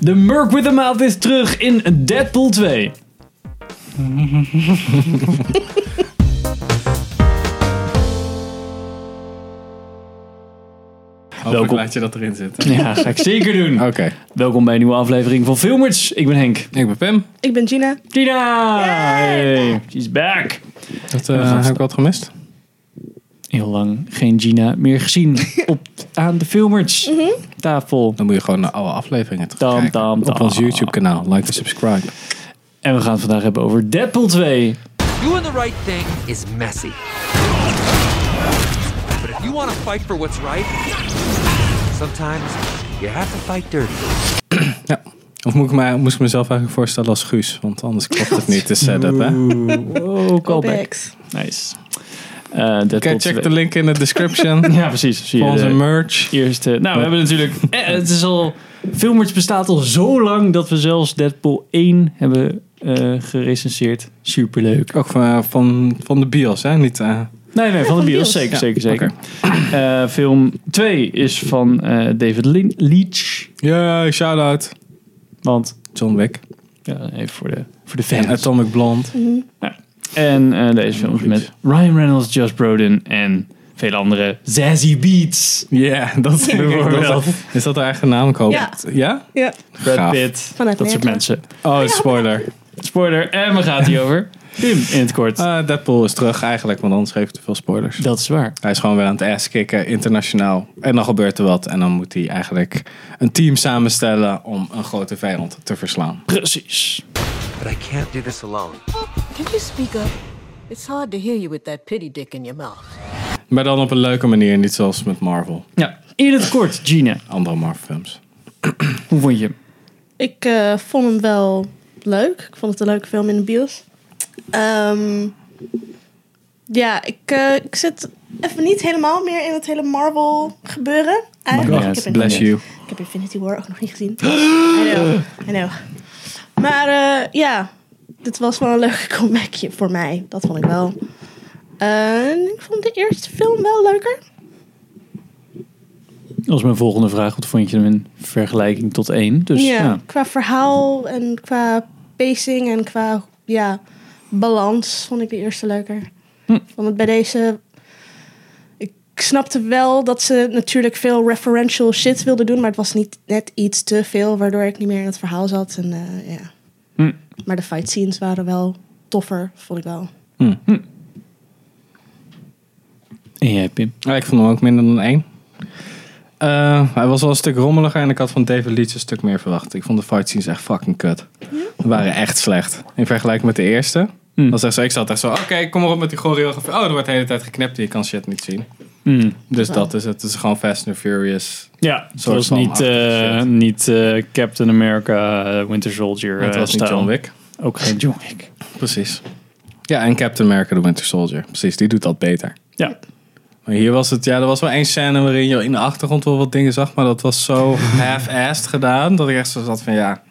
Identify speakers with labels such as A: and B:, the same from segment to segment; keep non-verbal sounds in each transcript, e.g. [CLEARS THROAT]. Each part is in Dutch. A: De Merc with a Mouth is terug in Deadpool 2.
B: Hopelijk
A: Welkom.
B: laat je dat erin zitten.
A: Ja, ga ik zeker doen.
B: Oké.
A: Welkom bij een nieuwe aflevering van Filmers. Ik ben Henk.
B: Ik ben Pim.
C: Ik ben Gina.
A: Tina! Hey, she's back.
B: Dat eh, heb ik wat gemist.
A: Heel lang geen Gina meer gezien op, aan de Filmers tafel.
B: Dan moet je gewoon naar alle afleveringen terugkijken.
A: Tam, tam,
B: Op ons
A: tam.
B: YouTube kanaal. Like en subscribe.
A: En we gaan het vandaag hebben over Deadpool 2.
D: Doing the right thing is messy. But if you want to fight for what's right, sometimes you have to fight dirty.
B: Ja. Of moet ik, mij, moest ik mezelf eigenlijk voorstellen als Guus? Want anders klopt het niet, de setup, hè?
A: Oh, callback. Nice. Eh, Deadpool
B: Oké, check
A: 2.
B: de link in de [LAUGHS] description
A: Ja, precies. Zie je
B: voor onze
A: de
B: merch.
A: eerste. Nou, we hebben natuurlijk. eh, het is al. Filmers bestaat al zo lang dat we zelfs Deadpool 1 hebben eh gerecenseerd. Superleuk.
B: Ook van, van, van de bios, hè? Niet, eh,
A: Nee, nee, van de
C: de
A: bios.
C: bios.
A: Zeker,
B: Ja,
A: zeker, zeker. Eh, film 2 is van eh, David Lin- Leitch.
B: yeah, shout-out.
A: Want,
B: John Wick.
A: ja, even voor de, voor de
B: En
A: fans.
B: Atomic Blonde.
A: En eh, deze film is met Ryan Reynolds, Josh Brolin en vele andere Zazzy Beats.
B: Ja, dat [LAUGHS] is
A: Bijvoorbeeld.
B: Is dat de eigen naam? Ik hoop
C: Ja.
B: het. Ja?
C: Ja.
A: Brad
B: Gaaf.
A: Pitt.
C: Vanuit
A: Dat soort
C: Nederland.
A: mensen.
B: Oh, spoiler.
A: Spoiler, en waar gaat hij over? Tim, in het kort.
B: Eh, Deadpool is terug eigenlijk, want anders geeft het te veel spoilers.
A: Dat is waar.
B: Hij is gewoon weer aan het ass kicken, internationaal. En dan gebeurt er wat. En dan moet hij eigenlijk een team samenstellen om een grote vijand te verslaan.
A: Precies.
D: But I can't do this alone.
E: Can you speak up? It's hard to hear you with that pity dick in your mouth.
B: Maar dan op een leuke manier, niet zoals met Marvel.
A: Ja, in het kort, Gina.
B: Andere Marvel films.
A: Hoe vond je hem?
C: Ik eh, vond hem wel leuk. Ik vond het een leuke film in de bios. Ehm, ja, ik, eh, ik zit even niet helemaal meer in het hele Marvel gebeuren. Eigenlijk.
A: God,
C: ik, heb
B: Oh Bless you.
C: ik heb Infinity War ook nog niet gezien. [GASPS] I know, I know. Maar eh, ja, dit was wel een leuke comebackje voor mij. Dat vond ik wel. En ik vond de eerste film wel leuker.
A: Dat was mijn volgende vraag. Wat vond je hem in vergelijking tot één? Dus
C: ja,
A: ja.
C: qua verhaal en qua pacing en qua ja, balans vond ik de eerste leuker.
A: Hm.
C: Want bij deze. Ik snapte wel dat ze natuurlijk veel referential shit wilden doen, maar het was niet net iets te veel, waardoor ik niet meer in het verhaal zat. En, eh, ja.
A: Hm.
C: Maar de fight scenes waren wel toffer, vond ik wel.
A: En jij, Pim?
B: Ja, ik vond hem ook minder dan één. Eh, hij was wel een stuk rommeliger en ik had van David Leitch een stuk meer verwacht. Ik vond de fight scenes echt fucking kut. Die waren echt slecht. In vergelijking met de eerste.
A: Hm.
B: Was echt zo, ik zat echt zo, oké, kom maar op met die choreografie. Oh, er wordt de hele tijd geknipt, je kan shit niet zien.
A: Hm.
B: Dus dat is het. Het is gewoon Fast and Furious.
A: Ja, het
B: soort
A: was
B: van
A: niet, eh,
B: achtergezet.
A: niet eh, Captain America, eh, Winter Soldier.
B: het
A: eh,
B: was niet
A: style.
B: John Wick.
A: Ook geen John Wick.
B: Precies. Ja, en Captain America The Winter Soldier. Precies, die doet dat beter.
A: Ja,
B: Maar hier was het, ja, er was wel één scène waarin je in de achtergrond wel wat dingen zag, maar dat
A: [LAUGHS]
B: was zo half-assed gedaan, dat ik echt zo zat van, ja,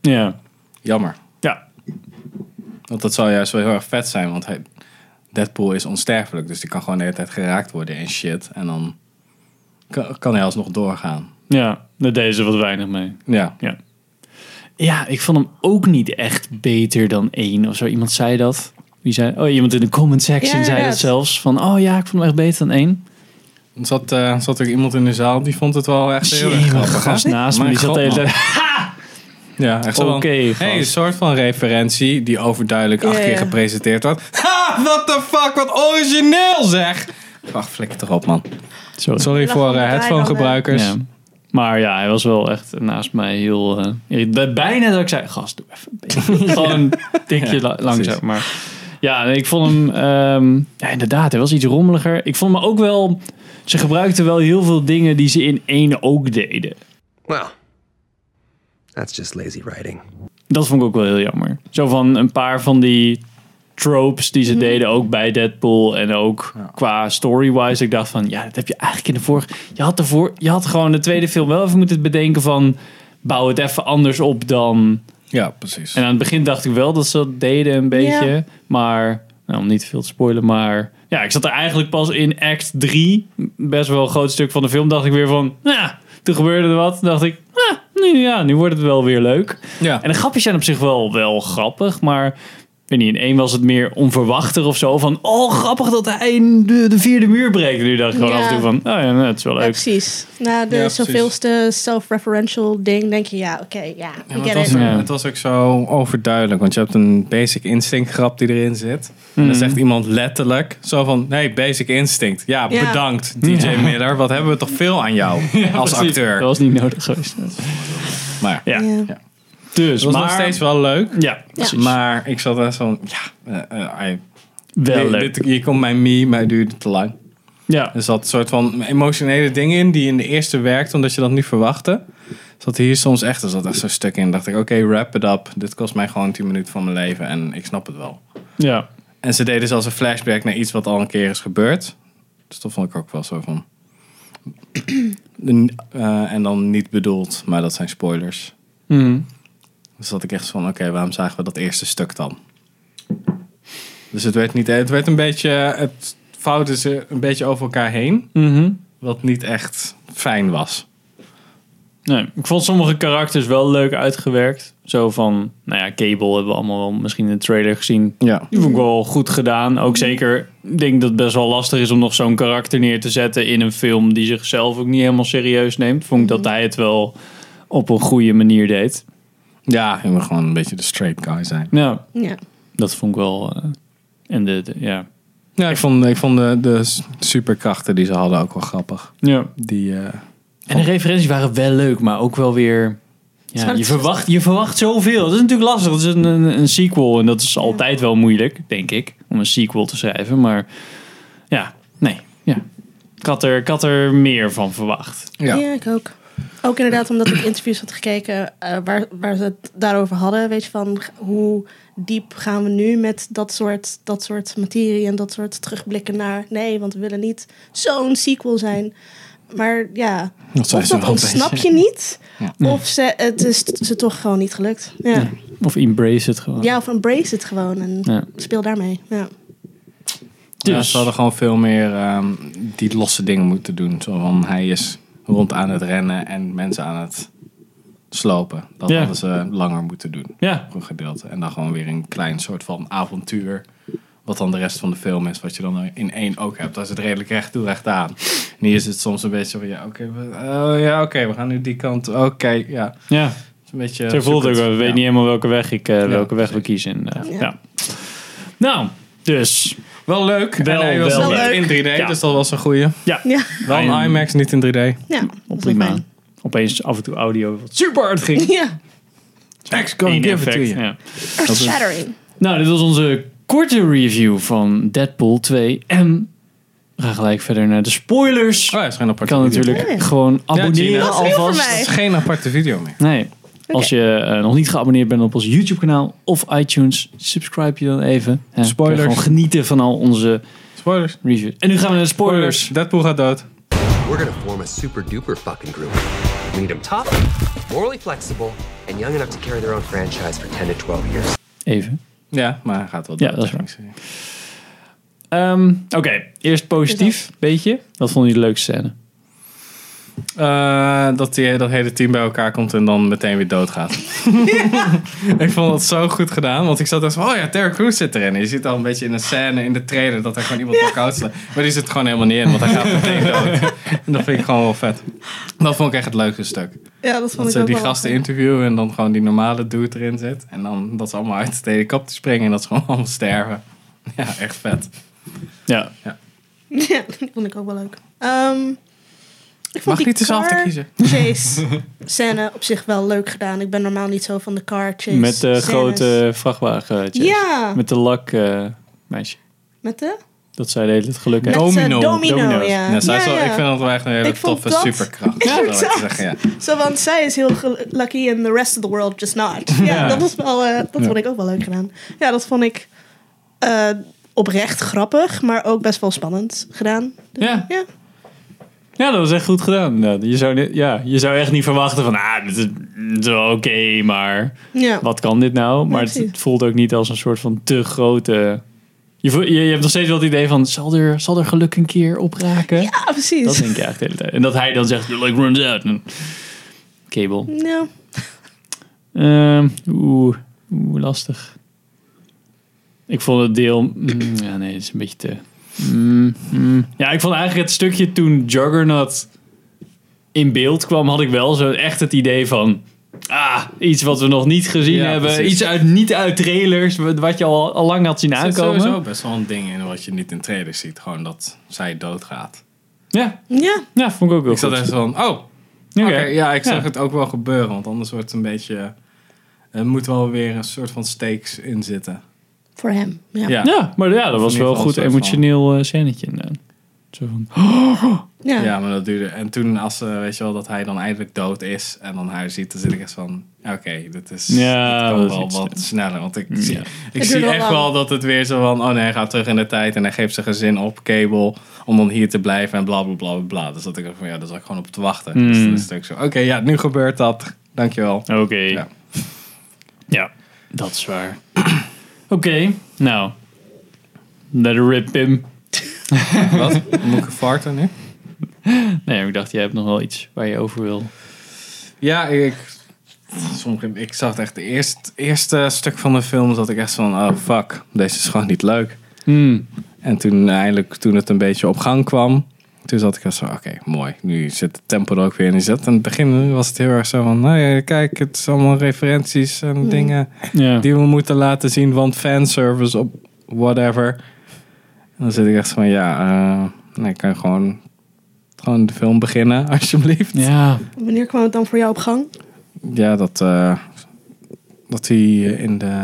A: ja,
B: jammer.
A: ja.
B: Want dat zou juist wel heel erg vet zijn, want hij, Deadpool is onsterfelijk, dus die kan gewoon de hele tijd geraakt worden en shit. En dan kan, kan hij alsnog doorgaan.
A: ja. Daar deden ze wat weinig mee.
B: Ja,
A: Ja. ja, ik vond hem ook niet echt beter dan één of zo. Iemand zei dat. Wie zei? Oh, iemand in de comment section zei
C: Ja,
A: dat
C: inderdaad.
A: zelfs. Van, oh ja, ik vond hem echt beter dan één.
B: er zat, eh zat ook iemand in de zaal, die vond het wel echt heel erg
A: Jee, wat
B: grappig. hè?
A: gast naast me.
B: Mijn
A: Die zat
B: god,
A: de hele
B: man.
A: tijd-
B: Ja, echt zo van,
A: Oké,
B: hey,
A: gast.
B: een soort van referentie die overduidelijk acht
C: Ja,
B: keer
C: ja.
B: gepresenteerd wordt. [LAUGHS] Ha, what the fuck, wat origineel zeg! Wacht, flikker toch op, man.
A: Sorry.
B: Sorry
C: Lach
B: voor
C: van de
B: eh, headphone-gebruikers.
A: Ja. Maar ja, hij was wel echt naast mij heel... eh, irritant. bijna dat ik zei, gast, doe even een beetje. Gewoon een tikje la- langzaam.
B: precies.
A: Maar ja, nee, ik vond hem... ehm, ja, inderdaad, hij was iets rommeliger. Ik vond hem ook wel... Ze gebruikten wel heel veel dingen die ze in één ook deden.
D: Well, that's just lazy writing.
A: Dat vond ik ook wel heel jammer. Zo van een paar van die tropes die ze deden, ook bij Deadpool en ook qua story-wise. Ik dacht van, ja, dat heb je eigenlijk in de vorige... Je had, de voor, je had gewoon de tweede film wel even moeten bedenken van... Bouw het even anders op dan...
B: Ja, precies.
A: En aan het begin dacht ik wel dat ze dat deden een beetje.
C: Ja.
A: Maar, nou, om niet te veel te spoilen, maar... Ja, ik zat er eigenlijk pas in act 3. Best wel een groot stuk van de film dacht ik weer van... Nou, toen gebeurde er wat. Toen dacht ik, ah, nu, ja, nu wordt het wel weer leuk.
B: Ja.
A: En de grapjes zijn op zich wel, wel grappig, maar ik weet niet, in één was het meer onverwachter of zo. Van, oh grappig dat hij de, de vierde muur breekt. Nu dacht ik gewoon
C: Ja.
A: af en toe van, oh ja, nou, het is wel
C: Ja,
A: leuk.
C: precies. Na de
B: Ja, precies.
C: zoveelste self-referential ding denk je, ja, oké, ja,
B: Ja,
C: ik
B: maar het,
C: get
B: was,
C: it.
A: Ja.
B: het was ook zo overduidelijk, want je hebt een basic instinct grap die erin zit. En
A: Mhm.
B: dan zegt iemand letterlijk zo van, nee, basic instinct. Ja,
C: Ja.
B: bedankt DJ Miller, wat hebben we toch veel aan
A: [LAUGHS]
B: jou als
A: Mhm. Precies,
B: acteur.
A: Dat was niet nodig geweest.
B: Maar
A: Ja,
C: Ja.
A: dus,
B: het was
A: maar...
B: nog steeds wel leuk,
A: Ja, precies.
B: maar ik zat echt zo van, ja, eh, eh, I-
A: wel
B: dit-
A: leuk.
B: dit- hier komt mijn meme, maar het duurde te lang.
A: Ja,
B: Er zat een soort van emotionele dingen in die in de eerste werkt, omdat je dat niet verwachtte. Zat hier soms echt, er zat echt zo'n stuk in. Dacht ik, oké, wrap it up. Dit kost mij gewoon 10 minuten van mijn leven en ik snap het wel.
A: ja.
B: En ze deden zelfs een flashback naar iets wat al een keer is gebeurd. Dus dat vond ik ook wel zo van. [CLEARS THROAT] N- eh, en dan niet bedoeld, maar dat zijn spoilers.
A: Mhm.
B: Dus dat ik echt van, oké, waarom zagen we dat eerste stuk dan? Dus het werd niet, het werd een beetje, het fouten ze een beetje over elkaar heen
A: Mhm.
B: wat niet echt fijn was.
A: Nee, ik vond sommige karakters wel leuk uitgewerkt. Zo van, nou ja, Cable hebben we allemaal wel misschien in de trailer gezien.
B: Ja.
A: Die vond ik wel goed gedaan. Ook zeker, ik denk dat het best wel lastig is om nog zo'n karakter neer te zetten in een film die zichzelf ook niet helemaal serieus neemt. Vond ik dat hij het wel op een goede manier deed.
B: Ja, je moet gewoon een beetje de straight guy zijn.
A: Nou,
C: Ja.
A: dat vond ik wel. eh, en de, de- ja.
B: Ja, ik vond, ik vond de, de s- superkrachten die ze hadden ook wel grappig.
A: ja.
B: Die, eh,
A: En de referenties waren wel leuk, maar ook wel weer. Ja,
C: Zou
A: je,
C: het-
A: verwacht, je verwacht zoveel. Dat is natuurlijk lastig. Dat is een, een, een sequel en dat is altijd wel moeilijk, denk ik, om een sequel te schrijven. Maar ja, nee. Ja. Ik, had er, ik had er meer van verwacht.
C: Ja. ik ook. Ook inderdaad omdat ik interviews had gekeken eh, waar, waar ze het daarover hadden. Weet je, van g- hoe diep gaan we nu met dat soort, dat soort materie en dat soort terugblikken naar... Nee, want we willen niet zo'n sequel zijn. Maar ja,
B: Dat zijn
C: of
B: ze wel
C: dat
B: een
C: ontsnap
B: beetje.
C: je niet,
A: Ja.
C: of ze, het is t- ze toch gewoon niet gelukt. Ja,
A: Of embrace het gewoon.
C: ja of embrace het gewoon en
A: Ja.
C: speel daarmee. Ja.
A: Dus.
B: Ja, ze hadden gewoon veel meer ehm, die losse dingen moeten doen. Zo van, hij is rond aan het rennen en mensen aan het slopen. Dat
A: Ja.
B: hadden ze langer moeten doen.
A: Ja.
B: Voor een gedeelte. En dan gewoon weer een klein soort van avontuur. Wat dan de rest van de film is. Wat je dan in één ook hebt. Dat is het redelijk recht toe, recht aan. En hier is het soms een beetje van, ja, oké, we, oh, ja, oké, we gaan nu die kant. Oké, ja. Het
A: ja.
B: is Een beetje
A: Zo voelt het ook.
B: zoekend.
A: wel. We
B: Ja.
A: weten niet helemaal welke weg, ik, eh, welke weg we
B: precies.
A: kiezen. Eh,
C: Ja.
A: ja. Nou, dus.
B: Wel leuk.
A: Wel-
B: en hij was
A: wel
B: niet
C: leuk.
B: in 3D,
A: Ja.
B: dus dat was een goeie.
A: Ja.
C: Ja,
B: Wel
A: Iron-
B: een IMAX, niet in 3D.
C: ja. dat was
A: Prima.
C: fijn.
A: Opeens af en toe audio wat super hard ging.
C: Ja,
B: Max,
A: Eén effect,
B: Oh,
A: ja.
C: earth shattering.
A: Nou, dit was onze korte review van Deadpool 2. En we gaan gelijk verder naar de spoilers.
B: Oh, ja, het is geen
A: Je
B: aparte
A: kan
B: video.
A: natuurlijk
C: Ja.
A: gewoon abonneren
B: Gina.
C: Dat is nieuw voor
A: alvast.
C: mij.
B: Het is geen aparte video meer.
A: Nee. Als je eh, nog niet geabonneerd bent op ons YouTube kanaal of iTunes, subscribe je dan even. Hè,
B: Spoilers.
A: kun je Gewoon genieten van al onze
B: Spoilers.
A: reviews. En nu gaan we naar de spoilers.
B: Deadpool gaat dood.
D: We're gonna form a super duper fucking group. We need them tough, morally flexible, and young enough to carry their own franchise for 10 to 12 years.
A: Even.
B: Ja, maar hij gaat wel
A: Ja,
B: dood.
A: dat is waar.
B: technisch gezien.
A: Ehm, Oké, eerst positief, beetje. Wat vond je de leukste scène?
B: Eh, dat, die, dat hele team bij elkaar komt en dan meteen weer
A: [LAUGHS]
B: doodgaat. ik vond dat zo goed gedaan, want ik zat echt van, oh ja, Terry Crews zit erin. Je zit al een beetje in een scène, in de trailer, dat er gewoon iemand op koud slaat. Maar die zit gewoon helemaal niet in, want hij gaat meteen
A: [LAUGHS]
B: dood. en dat vind ik gewoon wel vet. Dat vond ik echt het leukste stuk.
C: Ja, dat vond
B: Dat
C: ik
B: ze
C: ook
B: die
C: wel
B: gasten
C: fijn.
B: interviewen en dan gewoon die normale dude erin zit. En dan dat ze allemaal uit de helikopter springen en dat ze [LAUGHS] gewoon allemaal sterven. Ja, echt vet.
A: Ja.
C: [LAUGHS] Ja, die vond ik ook wel leuk. Ehm, ik vond
B: Mag
C: die
B: niet dezelfde
C: car
B: kiezen?
C: [LAUGHS] Chase scène op zich wel leuk gedaan. Ik ben normaal niet zo van de car chase.
A: Met de
C: scènes.
A: grote vrachtwagen. Chase.
C: Ja.
A: Met de lak, eh, meisje.
C: Met de?
A: Dat zij de hele tijd geluk
C: Met
A: heeft.
C: ze
B: Domino.
C: domino,
A: eh, Domino's.
C: ja.
B: Ja, zij
C: ja,
B: is wel-
C: ja.
B: Ik vind dat wel echt een hele
C: Ik vond
B: toffe
C: dat-
B: superkracht.
C: [LAUGHS] Ja.
B: zou ik
C: Exact.
B: zeggen, ja.
C: Zo, want zij is heel gel- lucky and the rest of the world just not.
B: [LAUGHS]
C: Ja, dat, was wel, eh, dat vond ik ook wel leuk gedaan. Ja, dat vond ik eh, oprecht grappig, maar ook best wel spannend gedaan. Dus,
A: Ja.
C: ja.
A: Ja, dat was echt goed gedaan. inderdaad. Je zou, niet- ja, je zou echt niet verwachten van, ah, dit is, dit is wel oké, maar
C: Ja.
A: wat kan dit nou? Maar het,
C: precies.
A: het voelt ook niet als een soort van te grote... Je, voelt- je, je hebt nog steeds wel het idee van, zal er, zal er geluk een keer opraken?
C: Ja, Ah, precies.
A: Dat denk je eigenlijk de hele tijd. En dat hij dan zegt, the luck runs out. En Cable.
C: Nou,
A: Ehm, Oeh, oeh, lastig. Ik vond het deel... mm, ja, nee, het is een beetje te... mm, mm. Ja, ik vond eigenlijk het stukje toen Juggernaut in beeld kwam, had ik wel zo echt het idee van... Ah, iets wat we nog niet gezien
B: Ja,
A: hebben.
B: precies.
A: Iets uit, niet uit trailers, wat wat je al, al lang had zien
B: Er zit
A: aankomen.
B: sowieso best wel een ding in wat je niet in trailers ziet. Gewoon dat zij doodgaat.
A: Ja,
C: ja.
A: ja, vond ik ook wel
B: Ik zat
A: goed.
B: echt van, oh, oké. ja, ik zag het ook wel gebeuren. Want anders wordt het een beetje... Er moet wel weer een soort van stakes in zitten.
C: Voor hem. Ja. Ja.
B: Ja.
A: Ja, maar ja, dat was
B: ieder
A: wel een
B: geval
A: goed
B: een soort
A: emotioneel eh scènetje inderdaad. Zo van,
B: Ja, maar dat duurde. En toen, als ze, weet je wel, dat hij dan eindelijk dood is en dan haar ziet, dan zit ik echt van: oké, dit is.
A: Ja,
B: dit
A: dat
B: kan
A: is
B: wel
A: iets,
B: wat
A: ja.
B: sneller. Want ik zie, ik
C: duurt
B: zie
C: wel
B: echt
C: lang.
B: wel dat het weer zo van: oh nee, hij gaat terug in de tijd en hij geeft zijn gezin op, cable, om dan hier te blijven en bla bla bla bla, bla. Dus dat ik dacht van: ja, daar zat ik gewoon op te wachten. Dus dan is het ook zo: oké, ja, nu gebeurt dat. Dankjewel.
A: Oké.
B: Ja.
A: Ja. dat is waar. [CLEARS THROAT] Oké, nou. Let it rip, Pim.
B: Wat? Moet ik farten nu?
A: Nee, ik dacht, jij hebt nog wel iets waar je over wil.
B: Ja, ik, sommige, ik zag het echt. Het eerst, eerste stuk van de film zat ik echt van: oh fuck, deze is gewoon niet leuk. En toen eindelijk, toen het een beetje op gang kwam, toen zat ik echt zo: oké, mooi. Nu zit het tempo er ook weer in. Zet. En in het begin was het heel erg zo van: nou ja, kijk, het is allemaal referenties en dingen
A: Ja.
B: die we moeten laten zien, want fanservice op whatever. En dan zit ik echt van: ja, eh nee, kan je gewoon, gewoon de film beginnen, [LAUGHS] alsjeblieft.
A: Ja.
C: Wanneer kwam het dan voor jou op gang?
B: Ja, dat, eh, dat hij in de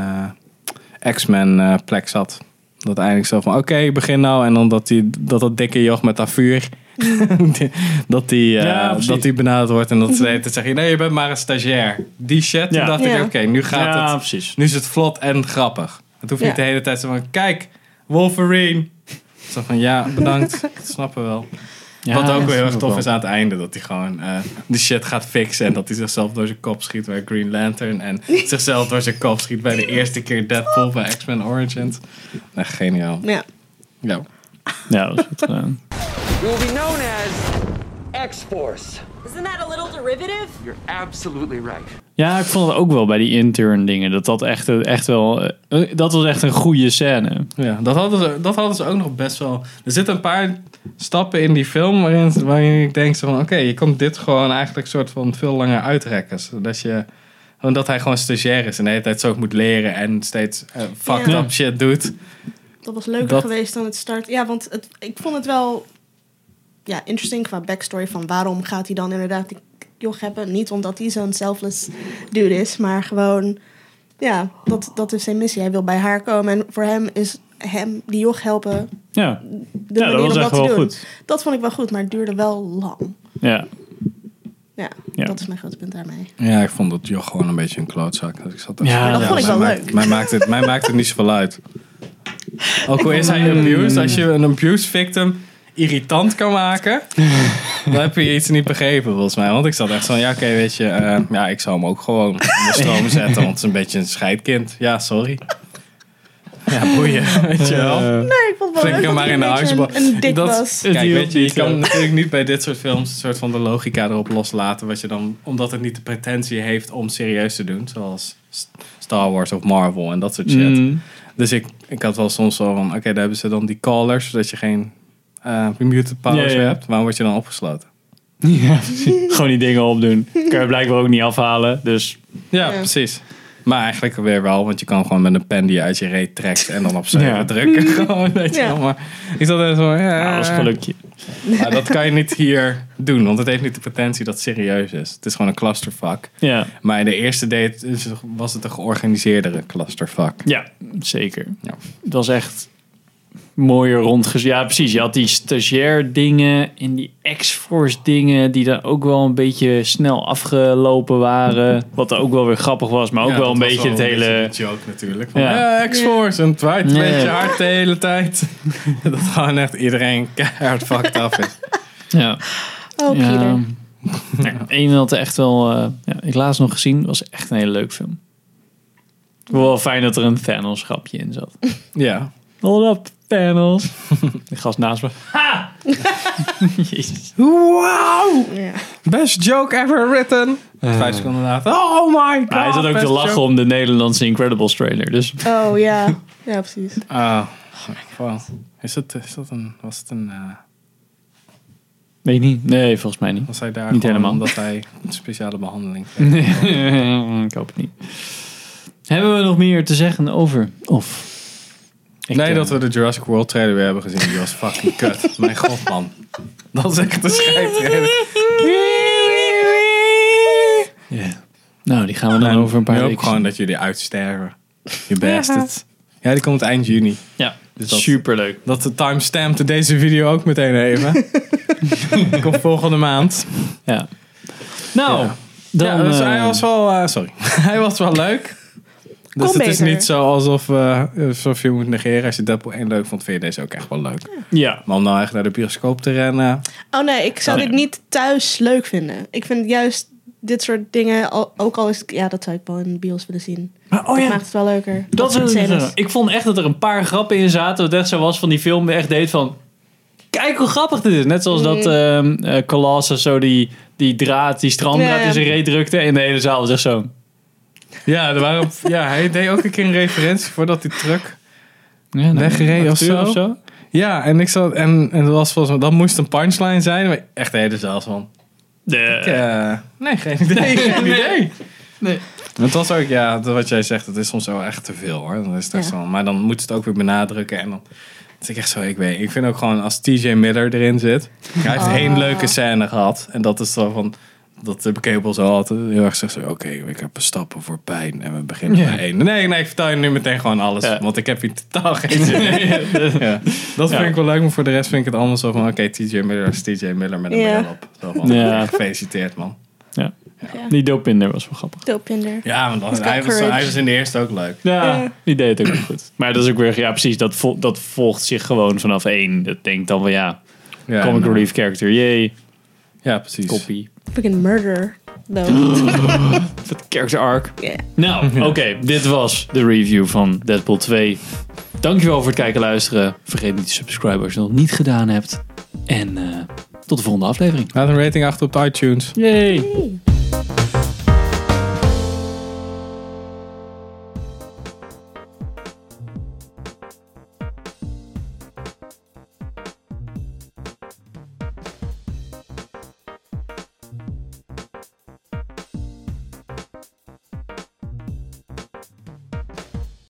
B: X-Men eh, plek zat. Dat eindelijk zo van, oké, begin nou. En dan dat, die, dat, dat dikke joch met dat vuur... [LAUGHS] die- dat die, eh,
A: Ja, precies.
B: dat die benaderd wordt en dat ze de hele tijd zeggen... Nee, je bent maar een stagiair. Die shit.
A: Ja.
B: Toen dacht ik,
C: Ja.
B: oké, nu gaat
A: Ja,
B: het...
A: precies.
B: Nu is het vlot en grappig. Het hoeft
C: Ja.
B: niet de hele tijd zo van... Kijk, Wolverine. Zo van, ja,
C: [LAUGHS]
B: bedankt. Dat snappen we wel. Wat ook weer heel erg tof is aan het einde. Dat hij gewoon eh, de shit gaat fixen. En dat hij zichzelf door zijn kop schiet bij Green Lantern. En zichzelf door zijn kop schiet bij de eerste keer Deadpool bij X-Men Origins. Echt geniaal.
C: Ja.
B: Ja.
A: Ja, dat is goed gedaan.
D: You will be known as X Force.
F: Isn't that a little derivative?
D: You're absolutely right.
A: Ja, ik vond het ook wel bij die intern dingen. Dat dat echt, echt wel... eh, eh, dat was echt een goede scène.
B: Ja, dat hadden, ze, dat hadden ze ook nog best wel. Er zitten een paar stappen in die film waarin, waarin ik denk: zo van oké, je komt dit gewoon eigenlijk soort van veel langer uitrekken. Zodat je. Omdat hij gewoon stagiair is en de hele tijd zo moet leren en steeds eh, fucked
A: Ja.
B: up shit doet.
C: Dat was leuker
B: Dat-
C: geweest dan het start. Ja, want het, ik vond het wel ja, interesting qua backstory van waarom gaat hij dan inderdaad die joch hebben. Niet omdat hij zo'n selfless dude is, maar gewoon, ja, dat, dat is zijn missie. Hij wil bij haar komen en voor hem is hem die joch helpen
A: Ja.
C: de
A: Ja, dat
C: manier
A: was
C: om
A: echt
C: dat te
A: wel
C: doen.
A: goed.
C: Dat vond ik wel goed, maar het duurde wel lang.
A: Ja.
C: Ja,
A: Ja.
C: dat is mijn grote punt daarmee.
B: Ja, ik vond dat Joch gewoon een beetje een klootzak. Dus ik zat echt
A: Ja,
B: zo,
A: dat
C: vond ik
B: mij
C: wel
B: maakt-
C: leuk.
B: Mij maakt, [LAUGHS] het, mij maakt het niet zoveel uit. Ook al is hij abused, als je een abuse victim irritant kan maken, dan heb je iets niet begrepen volgens mij. Want ik zat echt van, ja oké, weet je, eh, ja, ik zou hem ook gewoon in de stroom zetten, want het is een beetje een scheidkind. Ja, sorry. Ja, boeien, [LAUGHS] weet je wel.
C: Nee, ik vond het wel
B: Flink
C: leuk
B: hem maar in de
C: dat hij een beetje
B: huisbal.
C: een, een dik
B: Dat-
C: was.
A: Het
B: Kijk,
A: hielp
B: weet je, je
A: niet, ja.
B: kan natuurlijk niet bij dit soort films een soort van de logica erop loslaten. Wat je dan, omdat het niet de pretentie heeft om serieus te doen. Zoals S- Star Wars of Marvel en dat soort shit.
A: Mm.
B: Dus ik, ik had wel soms zo van, oké, daar hebben ze dan die callers. Zodat je geen eh muted powers
A: Ja, ja.
B: meer hebt. Waarom word je dan opgesloten?
A: ja. [LAUGHS] Gewoon die dingen opdoen. Kun je blijkbaar ook niet afhalen. Dus
B: Ja, precies. Maar eigenlijk weer wel, want je kan gewoon met een pen die je uit je reet trekt en dan opzij
A: Ja.
B: [LAUGHS] drukken.
C: [LAUGHS]
B: Gewoon, weet je
C: Ja.
B: wel. Maar ik zat er zo, ja.
C: Ah.
A: ja, dat was gelukje.
B: Maar dat kan je niet hier doen, want het heeft niet de pretentie dat het serieus is. Het is gewoon een clusterfuck.
A: Ja.
B: Maar in de eerste date is- was het een georganiseerdere clusterfuck.
A: Ja, zeker.
B: Ja.
A: Het was echt mooier rondgez. Ja, precies. Je had die stagiair dingen en die X-Force dingen die dan ook wel een beetje snel afgelopen waren. Wat ook wel weer grappig was, maar ook wel een beetje het hele...
B: joke natuurlijk. Van,
A: Ja.
B: eh, X-Force, en het waait een
A: Nee.
B: beetje hard de hele tijd. [LAUGHS] dat gewoon echt iedereen keihard fucked up is.
A: Ja.
C: Oh,
A: Ja.
C: Peter.
A: Ja, Eén had echt wel... eh, ja, ik laatst nog gezien. was echt een hele leuk film. Ik vond Wel fijn dat er een Thanos-grapje in zat.
B: Ja.
A: [LAUGHS] Hold up, Thanos. De gast naast me. Ha!
B: Wow!
C: Ja.
B: Best joke ever written. Vijf seconden later. Oh my
A: Eh.
B: god.
A: Maar hij zat ook te
B: best
A: lachen
B: joke.
A: om de Nederlandse Incredibles trailer. Dus
C: Oh ja. Ja, precies.
B: Ah, wow. Is dat, is dat een... Was het een... eh,
A: weet ik niet. Nee, volgens mij niet.
B: was hij daar
A: Niet
B: gewoon
A: helemaal.
B: omdat hij een speciale [LAUGHS] behandeling
A: [LAUGHS]
B: kreeg?
A: Nee, ik hoop het niet. Hebben we nog meer te zeggen over? Of? Ik,
B: nee,
A: eh,
B: dat we de Jurassic World trailer weer hebben gezien. Die was fucking kut. [LAUGHS] Mijn god, man. Dat is echt een scheidtrailer.
A: ja. Nou, die gaan we dan over een
B: Ik
A: paar
B: hoop
A: weken
B: gewoon dat jullie uitsterven. Je bastards. Ja, die komt eind juni.
A: zien. Ja,
B: Dus dat-
A: superleuk.
B: Dat de timestamp deze video ook meteen even. [LAUGHS] komt volgende maand.
A: Ja. Nou,
B: Ja.
A: dan...
B: ja, dus
A: eh,
B: hij was wel... eh, sorry. [LAUGHS] hij was wel leuk. Dus
C: Kon
B: het is
C: beter.
B: niet zo alsof, eh, alsof je moet negeren. Als je Deadpool 1 leuk vond, vind je deze ook echt wel leuk.
A: ja.
B: Maar om nou echt naar de bioscoop te rennen...
C: Oh nee, ik zou
A: Oh, nee.
C: dit niet thuis leuk vinden. Ik vind juist dit soort dingen, al- ook al is het- Ja, dat zou ik wel in de bios willen zien.
A: Maar, oh
C: Dat
A: ja,
C: maakt het wel leuker.
A: dat
C: soort
A: is
C: scènes.
A: Ik vond echt dat er een paar grappen in zaten. Wat echt zo was van die film. Echt deed van... Kijk hoe grappig dit is. Net zoals dat
C: Mm.
A: ehm eh, Colossus zo die, die draad, die stranddraad
C: Ja, ja.
A: in zijn reet drukte. En de hele zaal was echt zo...
B: Ja, er waren, ja, hij deed ook een keer een referentie voordat die truck.
A: Ja, nou,
B: Weggereden of
A: acht uur
B: zo? Ja, en ik zat. En, en dat was volgens mij. Dat moest een punchline zijn. Maar echt de hele zelfs van.
A: De-
B: eh, nee, geen idee. Geen idee. Het was ook, ja, dat wat jij zegt. Het is soms wel echt te veel hoor. Dan is het echt
C: Ja.
B: zo, maar dan moet het ook weer benadrukken. En dan. Het is echt zo, ik weet. Ik vind ook gewoon als TJ Miller erin zit. Hij
C: Oh.
B: heeft één leuke scène gehad. En dat is zo van. Dat de Cable zo altijd heel erg zegt. zo, Oké, ik heb stappen voor pijn. En we beginnen
A: Ja.
B: bij één. Nee, nee, ik vertel je nu meteen gewoon alles.
A: Ja.
B: Want ik heb hier totaal
A: [LAUGHS]
B: geen zin in. ja. Dat
A: Ja.
B: vind ik wel leuk. Maar voor de rest vind ik het allemaal zo van. Oké, TJ Miller is TJ Miller met een
C: Ja.
B: bril op. Zo van,
A: Ja.
B: Gefeliciteerd man.
A: Ja.
C: Ja.
A: Die doopminder was wel grappig.
C: Doopjinder.
B: Ja, want
C: He's
B: dan,
C: got
B: hij, was,
C: courage.
B: hij was in de eerste ook leuk.
A: Ja,
C: Ja.
A: die deed het ook wel goed. Maar dat is ook weer, ja precies, dat, vol- dat volgt zich gewoon vanaf één. Dat denkt dan van ja,
B: Ja, nou.
A: comic
B: en-
A: relief character, yay,
B: Ja, precies.
A: copy.
C: Fucking murder. Though.
A: [LAUGHS] Het character arc.
C: Ja.
A: Nou, oké, dit was de review van Deadpool 2. Dankjewel voor het kijken en luisteren. Vergeet niet te subscriben als je dat nog niet gedaan hebt. En eh, tot de volgende aflevering.
B: Laat een rating achter op iTunes.
A: Yay!
C: Hey.